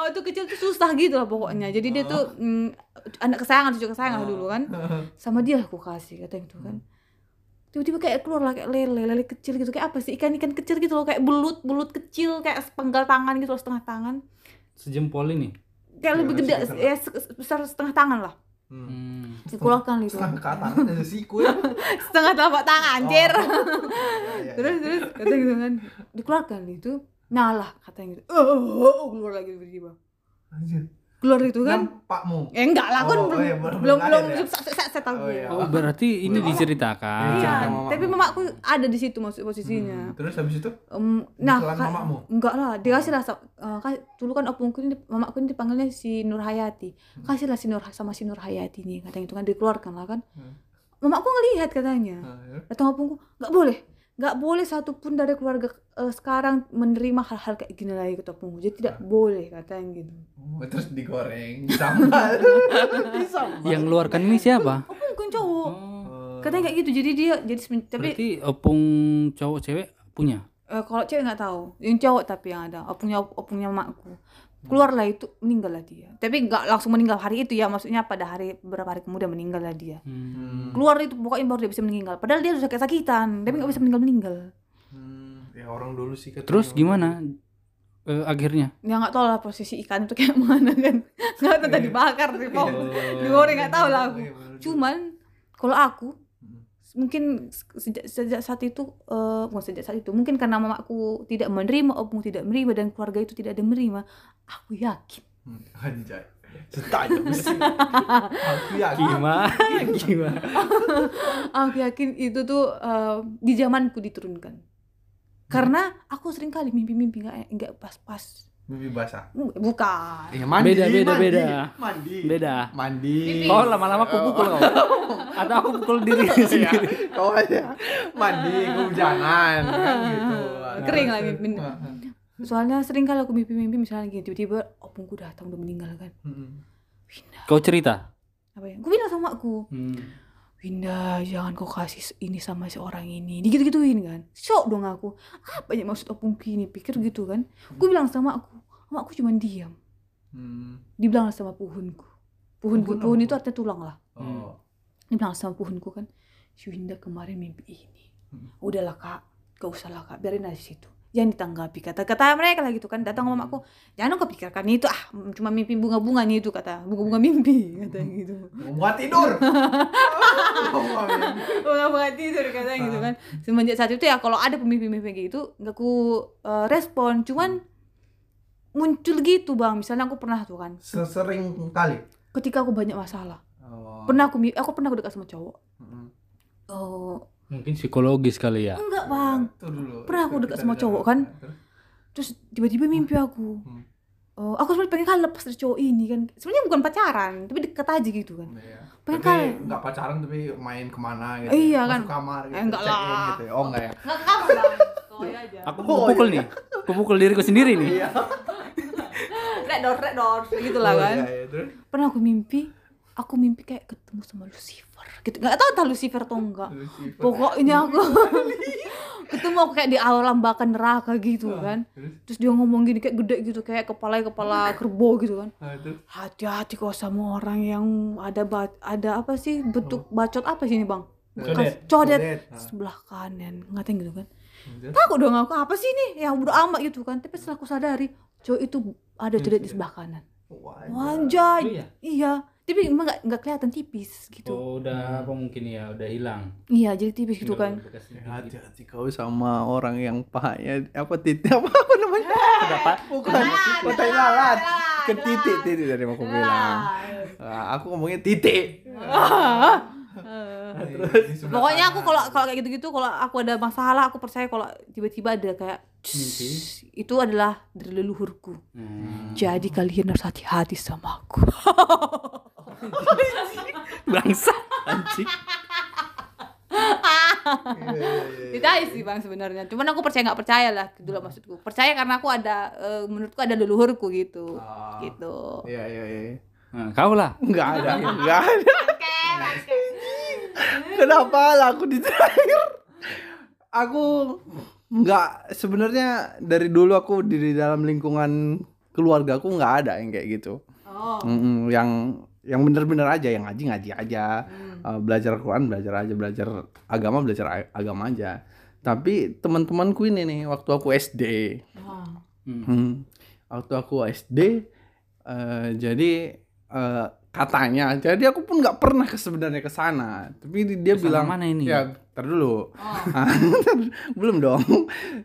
waktu kecil tuh susah gitu lah pokoknya jadi dia tuh mm, anak kesayangan cucu kesayangan Ah. dulu kan sama dia lah aku kasih katanya gitu kan tiba-tiba kayak keluar lah kayak lele lele kecil gitu kayak apa sih ikan-ikan kecil gitu loh kayak belut belut kecil kayak sepenggal tangan gitu loh setengah tangan Sejempol ini. kayak Iya, lebih masih gede besar lah. ya se- sebesar setengah tangan lah Hmm. Hmm. dikeluarkan gitu setengah kanan ada siku ya setengah telapak tangan anjir Oh, Iya, iya. terus terus kata gitu kan dikeluarkan itu nah lah katanya gitu oh, oh, oh, oh, keluar lagi tiba-tiba Anjir. keluar itu kan nampakmu eh enggak lah kan Oh, belum oh, iya, belum belum- belum belum ada belum ya? set set- set Oh, aku iya. Oh, berarti ini Belum. diceritakan. iya Cerita mamamu. tapi mamaku Hmm. ada di situ maksud posisinya Hmm. terus habis itu Em, nah Ditelan ka- mamamu? enggak lah dia kasih lah sa- eh, ka- dulu kan opungku ini mamaku ini dipanggilnya si Nurhayati kasihlah si Nur sama si Nurhayati nih katanya itu kan dikeluarkan lah kan Hmm. mamaku ngelihat katanya Nah, ya. datang opungku nggak boleh nggak boleh satupun dari keluarga eh, sekarang menerima hal-hal kayak gini lagi kata opungku jadi tidak boleh katanya gitu Oh, terus digoreng sambal disambal Yang keluarkan ini siapa? opungku yang cowok Oh, katanya kayak gitu jadi dia jadi semen- tapi berarti eh, opung cowok cewek punya. eh, kalau cewek nggak tahu yang cowok tapi yang ada opungnya opungnya makku keluarlah itu meninggallah dia tapi nggak langsung meninggal hari itu ya maksudnya pada hari beberapa hari kemudian meninggallah dia Hmm. Hmm. keluar itu pokoknya baru dia bisa meninggal padahal dia sudah sakit sakitan tapi nggak bisa meninggal meninggal Hmm. ya orang dulu sih katanya. Terus gimana eh, akhirnya? ya nggak tahu lah posisi ikan itu kayak mana kan nggak tahu tadi bakar sih kok digoreng nggak tahu lah aku Iya, bener juga. cuman kalau aku Hmm. mungkin sejak, sejak saat itu eh bukan sejak saat itu mungkin karena mamaku tidak menerima opung tidak menerima dan keluarga itu tidak ada menerima aku yakin Hmm, Anjay. Setajam sih. Aku yakin. Gimana? Gimana? Ah, aku yakin itu tuh eh, di zamanku diturunkan karena aku sering kali mimpi-mimpi nggak nggak pas-pas Mimpi basah. bukan Ya, Beda, beda, mandi, beda. Mandi. Beda. Mandi. Kau Oh, lama-lama aku pukul kau. Atau aku pukul diri Iya, sendiri. kau aja mandi kehujanan kan gitu. Kering Nah, lagi, terus- bener. Heeh. soalnya sering kali aku mimpi-mimpi misalnya gini tiba-tiba opungku datang udah meninggal kan Heeh. Winda Kau cerita. apa ya aku bilang sama aku Winda, jangan kau kasih ini sama si orang ini. Digitu-gituin kan. Shock dong aku. Apa yang maksud opung ini? Pikir gitu kan. Aku bilang sama aku. Sama aku cuman diam. Hmm. Dibilang lah sama puhunku. Puhunku, Puhun puhun apa? itu artinya tulang lah. Oh. Dibilang sama puhunku kan. Si Winda kemarin mimpi ini. Hmm. Udahlah kak. Gak usah lah kak. Biarin aja situ. Jangan ditanggapi. Kata-kata mereka lah gitu kan. Datang Hmm. sama aku. Jangan kau pikirkan itu. Ah cuma mimpi bunga-bunga nih itu kata. Bunga-bunga Hmm. mimpi. Kata gitu. Mau tidur. Oh, Udah banget tidur katanya gitu kan semenjak saat itu ya kalau ada pemimpi-pemimpi kayak gitu nggak ku eh, respon cuman muncul gitu bang misalnya aku pernah tuh kan Sesering kali. ketika aku banyak masalah Oh. Hmm. pernah aku mi- aku pernah aku dekat sama cowok Heeh. oh Mungkin psikologis kali ya. enggak bang Itu dulu. Pernah aku Itu dekat kita sama beda. cowok kan? Terus? terus tiba-tiba mimpi aku Hmm. Oh, aku sebenarnya pengen kali lepas dari cowok ini kan sebenarnya bukan pacaran tapi deket aja gitu kan Iya. Pengen tapi kali. nggak pacaran tapi main kemana gitu Iya Masuk kan. kamar gitu Eh, enggak check in lah. gitu ya. oh enggak ya nggak kamu bang Koy aja Aku pukul nih. Aku pukul diriku sendiri nih. red door red door gitu Oh, lah kan iya, iya. Terus? pernah aku mimpi aku mimpi kayak ketemu sama Lucifer gitu nggak tahu entah Lucifer atau enggak Lucifer. pokoknya aku ketemu aku kayak di awal lambakan neraka gitu kan terus terus dia ngomong gini kayak gede gitu kayak kepala kepala kerbau gitu kan Ah, terus hati-hati kok sama orang yang ada ba- ada apa sih bentuk bacot apa sih ini bang Kan Codet. codet Codet. Ah. sebelah kanan ngatain gitu kan Terus? takut dong aku apa sih ini ya udah amat gitu kan tapi setelah aku sadari cowok itu ada codet di sebelah kanan Wah, Oh Wanjay. iya? Iya. Tapi emang nggak nggak kelihatan tipis gitu. Oh, udah apa mungkin ya, udah hilang. Iya, jadi tipis gitu kan. Ya, hati-hati kau sama orang yang pahanya apa titik apa, apa namanya Eh, Kenapa? bukan bukan tai lalat ke titik titik dari aku bilang Ah, aku ngomongnya titik Nah, terus Nah. Pokoknya aku kalau kalau kayak gitu-gitu kalau aku ada masalah aku percaya kalau tiba-tiba ada kayak Mimpi. "Cus," itu adalah dari leluhurku. Hmm. Jadi kalian harus hati-hati sama aku. Bangsa anjing. Iya, Ditanya sih bang sebenarnya. Cuman aku percaya nggak percaya lah dulu maksudku. Percaya karena aku ada eh, menurutku ada leluhurku gitu. Ah. Gitu. Iya iya iya. Nah, kau lah. Enggak ada, enggak ada. Kenapa lah aku di terakhir? Aku enggak sebenarnya dari dulu aku di, di dalam lingkungan keluarga aku enggak ada yang kayak gitu. Oh. Mm-mm, yang yang bener-bener aja yang ngaji ngaji aja Eh, belajar Quran belajar aja belajar agama belajar a- agama aja tapi teman-temanku ini nih waktu aku SD Hmm. Hmm. Waktu aku SD eh, jadi eh, katanya jadi aku pun nggak pernah ke sebenarnya ke sana. Tapi di- dia Kesana bilang mana ini? Ya, tar dulu. Oh. Belum dong.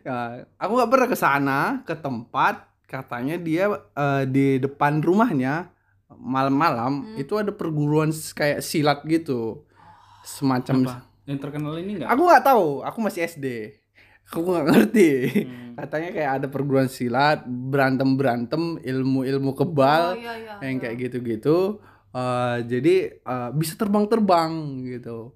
Ya, aku nggak pernah ke sana, ke tempat katanya dia eh, di depan rumahnya malam-malam Hmm. itu ada perguruan s- kayak silat gitu. Semacam Apa? Yang terkenal ini enggak? Aku nggak tahu, aku masih SD. Aku nggak ngerti Hmm. katanya kayak ada perguruan silat berantem berantem ilmu ilmu Oh, kebal iya, iya. yang kayak gitu gitu jadi eh, bisa terbang terbang gitu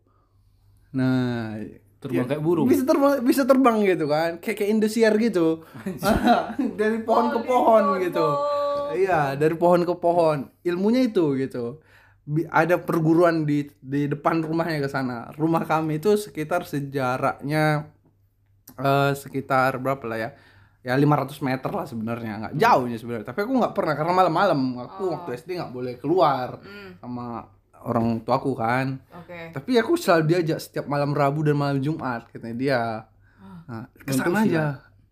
nah Terbang ya, kayak burung. bisa terbang bisa terbang gitu kan kayak kayak indosiar gitu dari pohon ke pohon gitu iya dari pohon ke pohon ilmunya itu gitu Bi- ada perguruan di di depan rumahnya ke sana rumah kami itu sekitar sejaraknya eh, sekitar berapa lah ya ya 500 meter lah sebenarnya nggak jauhnya sebenarnya tapi aku nggak pernah karena malam-malam aku Oh. waktu SD nggak boleh keluar Hmm, sama orang tuaku kan Oke. tapi aku selalu diajak setiap malam Rabu dan malam Jumat katanya dia. Ah, Nah, kesana Untuk aja.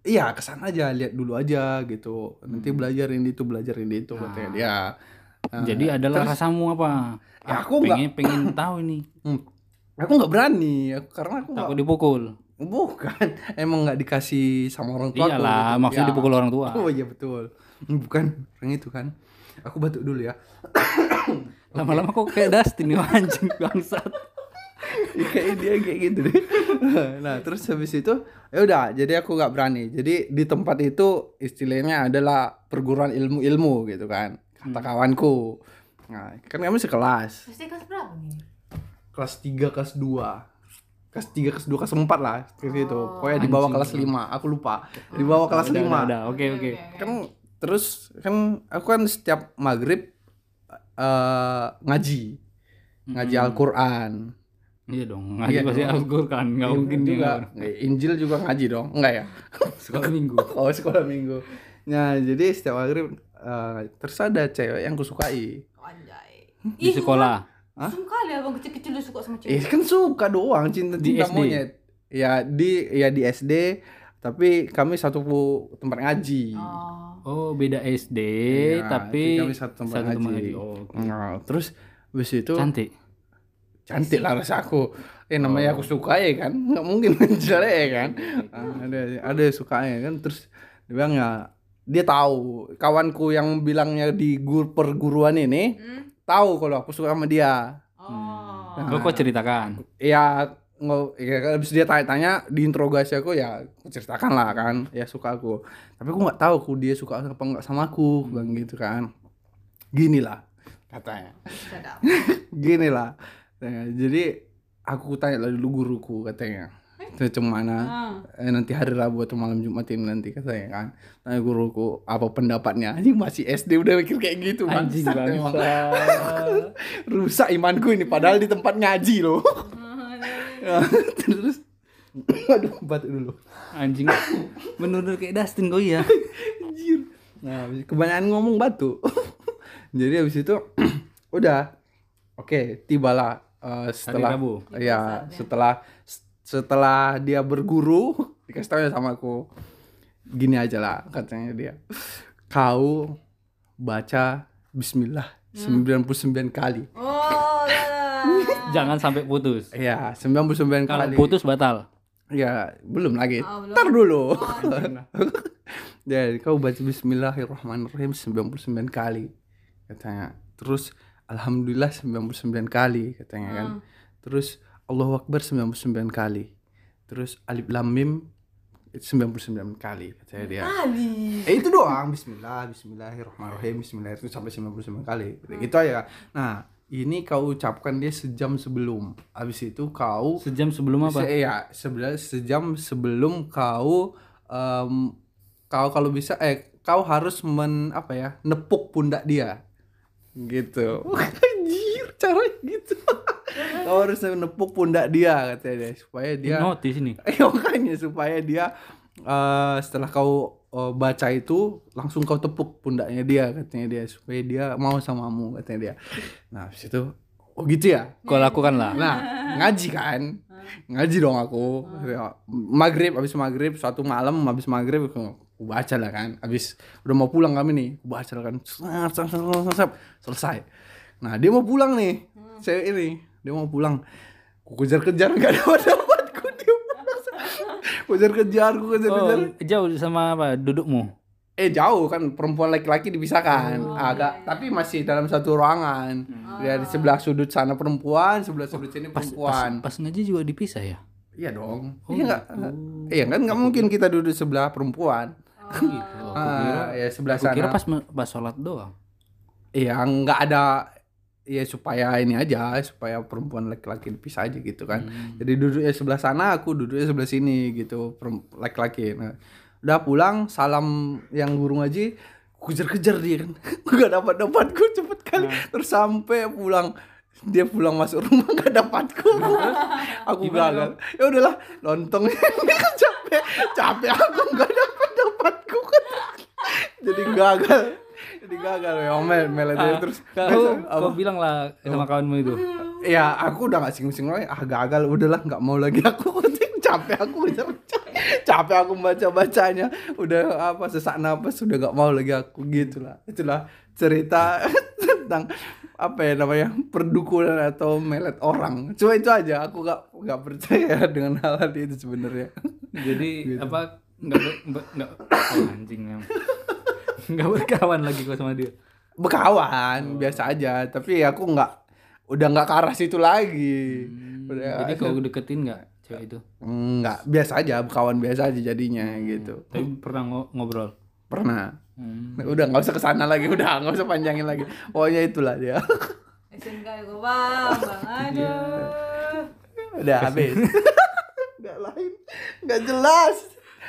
Iya, kesana aja, lihat dulu aja gitu. Nanti Hmm. belajarin itu, belajarin itu katanya dia. Nah, Ah. Jadi adalah terus- rasamu apa? Ya, Ah, aku pengen pengen tahu ini. Hmm. aku nggak berani aku, karena aku nggak Takut dipukul. bukan emang nggak dikasih sama orang tua gitu. Iyalah, maksudnya dipukul orang tua. oh iya betul bukan orang itu kan aku batuk dulu ya Lama-lama kok kayak Dustin nih anjing bangsat. Ya, kayak dia kayak gitu deh nah terus habis itu ya udah jadi aku nggak berani jadi di tempat itu istilahnya adalah perguruan ilmu-ilmu gitu kan kata kawanku nah kan kami sekelas Pasti kelas berapa nih? kelas 3 kelas 2 kelas 3 kelas 2 kelas 4 lah seperti itu Oh. pokoknya di bawah Anjing. kelas 5 aku lupa di bawah kelas 5 Udah, udah, udah. Oke, oke. kan terus kan aku kan setiap maghrib eh, ngaji ngaji Al-Quran Iya dong, ngaji Iya pasti dong. Iya harus Quran, enggak mungkin dia juga nggak pernah. Eh, Injil juga ngaji dong enggak ya sekolah minggu. oh sekolah minggu nah jadi setiap maghrib eh, terus ada cewek yang kusukai Anjay. Di sekolah. Langsung kali abang ya, kecil-kecil lu suka sama eh cewek. kan suka doang cinta Di cinta SD? monyet ya di ya di SD tapi kami satu pu- tempat ngaji Oh. Oh, beda SD, Iya, tapi jadi kami satu tempat ngaji. Oh, oke. Nah, terus habis itu Cantik. cantik lah rasa aku eh Oh. namanya aku suka ya kan nggak mungkin jelek ya kan Ah, ada ada yang suka ya kan terus dia bilang ya dia tahu kawanku yang bilangnya di gur perguruan ini Hmm. tahu kalau aku suka sama dia Oh. Nah. Kau kok ceritakan? ya nggak ya kan, habis dia tanya-tanya diinterogasi aku ya aku ceritakan lah kan ya suka aku tapi aku nggak tahu aku dia suka apa nggak sama aku bang gitu kan gini lah katanya Sedap. gini lah Nah, jadi aku tanya lah dulu guruku katanya itu mana Ah. eh, nanti hari Rabu atau malam Jumat ini nanti katanya kan tanya guruku apa pendapatnya anjing masih SD udah mikir kayak gitu Anjing bangsat emang. bangsa. rusak imanku ini padahal di tempat ngaji loh Ya, terus aduh batuk dulu Anjing. Bener-bener kayak Dustin kau ya. Anjir. Nah, habis- kebanyakan ngomong batu. Jadi habis itu udah. Oke, tibalah eh, setelah Rabu. ya. Iya, setelah setelah dia berguru dikasih tahu ya sama aku. Gini aja lah katanya dia. Kau baca bismillah Hmm. 99 kali. Oh, ya. Jangan sampai putus. Iya, 99 Kalau kali. putus batal. Ya, belum lagi. Oh, belum. Ntar dulu. Dan kau baca bismillahirrahmanirrahim 99 kali katanya. Terus alhamdulillah 99 kali katanya kan. Hmm. Terus Allahu akbar 99 kali. Terus alif lam mim 99 kali katanya Ya. dia. Ah. Ali. Eh itu doang bismillah bismillahirrahmanirrahim bismillah itu sampai 99 kali. Gitu aja. Nah, ini kau ucapkan dia sejam sebelum habis itu kau Sejam sebelum apa? Se- ya sebelas sejam sebelum kau em, kau kalau bisa eh kau harus men apa ya nepuk pundak dia gitu anjir caranya gitu kau harus nepuk pundak dia katanya supaya dia Notis ini. Eh, makanya supaya dia eh, setelah kau eh, baca itu langsung kau tepuk pundaknya dia katanya dia supaya dia mau samamu katanya dia. Nah, habis itu oh gitu ya. Kau lakukan lah. Nah, ngaji kan? Ngaji dong aku. Ya, Maghrib habis maghrib suatu malam habis maghrib aku aku baca lah kan. Habis udah mau pulang kami nih, aku baca lah kan. Sap, sap, sap, sap, sap. Selesai. Nah, dia mau pulang nih. Cewek ini, dia mau pulang. Aku kejar-kejar nggak dapat-dapat. Aku dia pulang. Aku kejar-kejar, aku kejar-kejar. Oh, jauh sama apa dudukmu? Eh jauh kan perempuan laki-laki dipisahkan Oh. agak tapi masih dalam satu ruangan dari sebelah sudut sana perempuan sebelah sudut sini Hmm. Pas, pas, perempuan pas ngaji juga dipisah ya? iya dong Oh, iya nggak iya kan nggak mungkin kita duduk sebelah perempuan Gitu. Aku kira, Ah, ya sebelah aku sana kira pas me- pas sholat doang. Iya, nggak ada ya supaya ini aja supaya perempuan laki-laki dipisah aja gitu kan. Jadi duduknya sebelah sana, aku duduknya sebelah sini gitu, perem- laki-laki. Nah, udah pulang, salam yang guru ngaji, kejar-kejar dia kan. Gak dapat dapat gue cepet kali. Terus sampai pulang dia pulang masuk rumah gak dapatku aku gagal ya udahlah lontong capek capek aku gak dapat dapatku jadi gagal jadi gagal ya omel mel itu Ah, terus kau, apa? kau bilang lah sama kawanmu itu. ya aku udah gak singgung-singgung lagi ah gagal udahlah nggak mau lagi aku capek aku capek aku baca bacanya udah apa sesak napas udah gak mau lagi aku gitulah itulah cerita tentang apa ya namanya perdukunan atau melet orang cuma itu aja aku gak nggak percaya dengan hal-hal itu sebenarnya Jadi apa nggak ber- ber- nggak oh, anjing memang. Nggak berkawan lagi kau sama dia. Oh. berkawan biasa aja tapi ya aku nggak udah nggak ke arah situ lagi udah Hmm, Jadi kau deketin nggak cewek itu? nggak biasa aja berkawan biasa aja jadinya Hmm. gitu Tapi pernah ngo- ngobrol. pernah Hmm. udah nggak usah kesana lagi udah nggak usah panjangin lagi pokoknya itulah dia SNK ya gue bang, bang Iya. aduh. udah habis nggak lain nggak jelas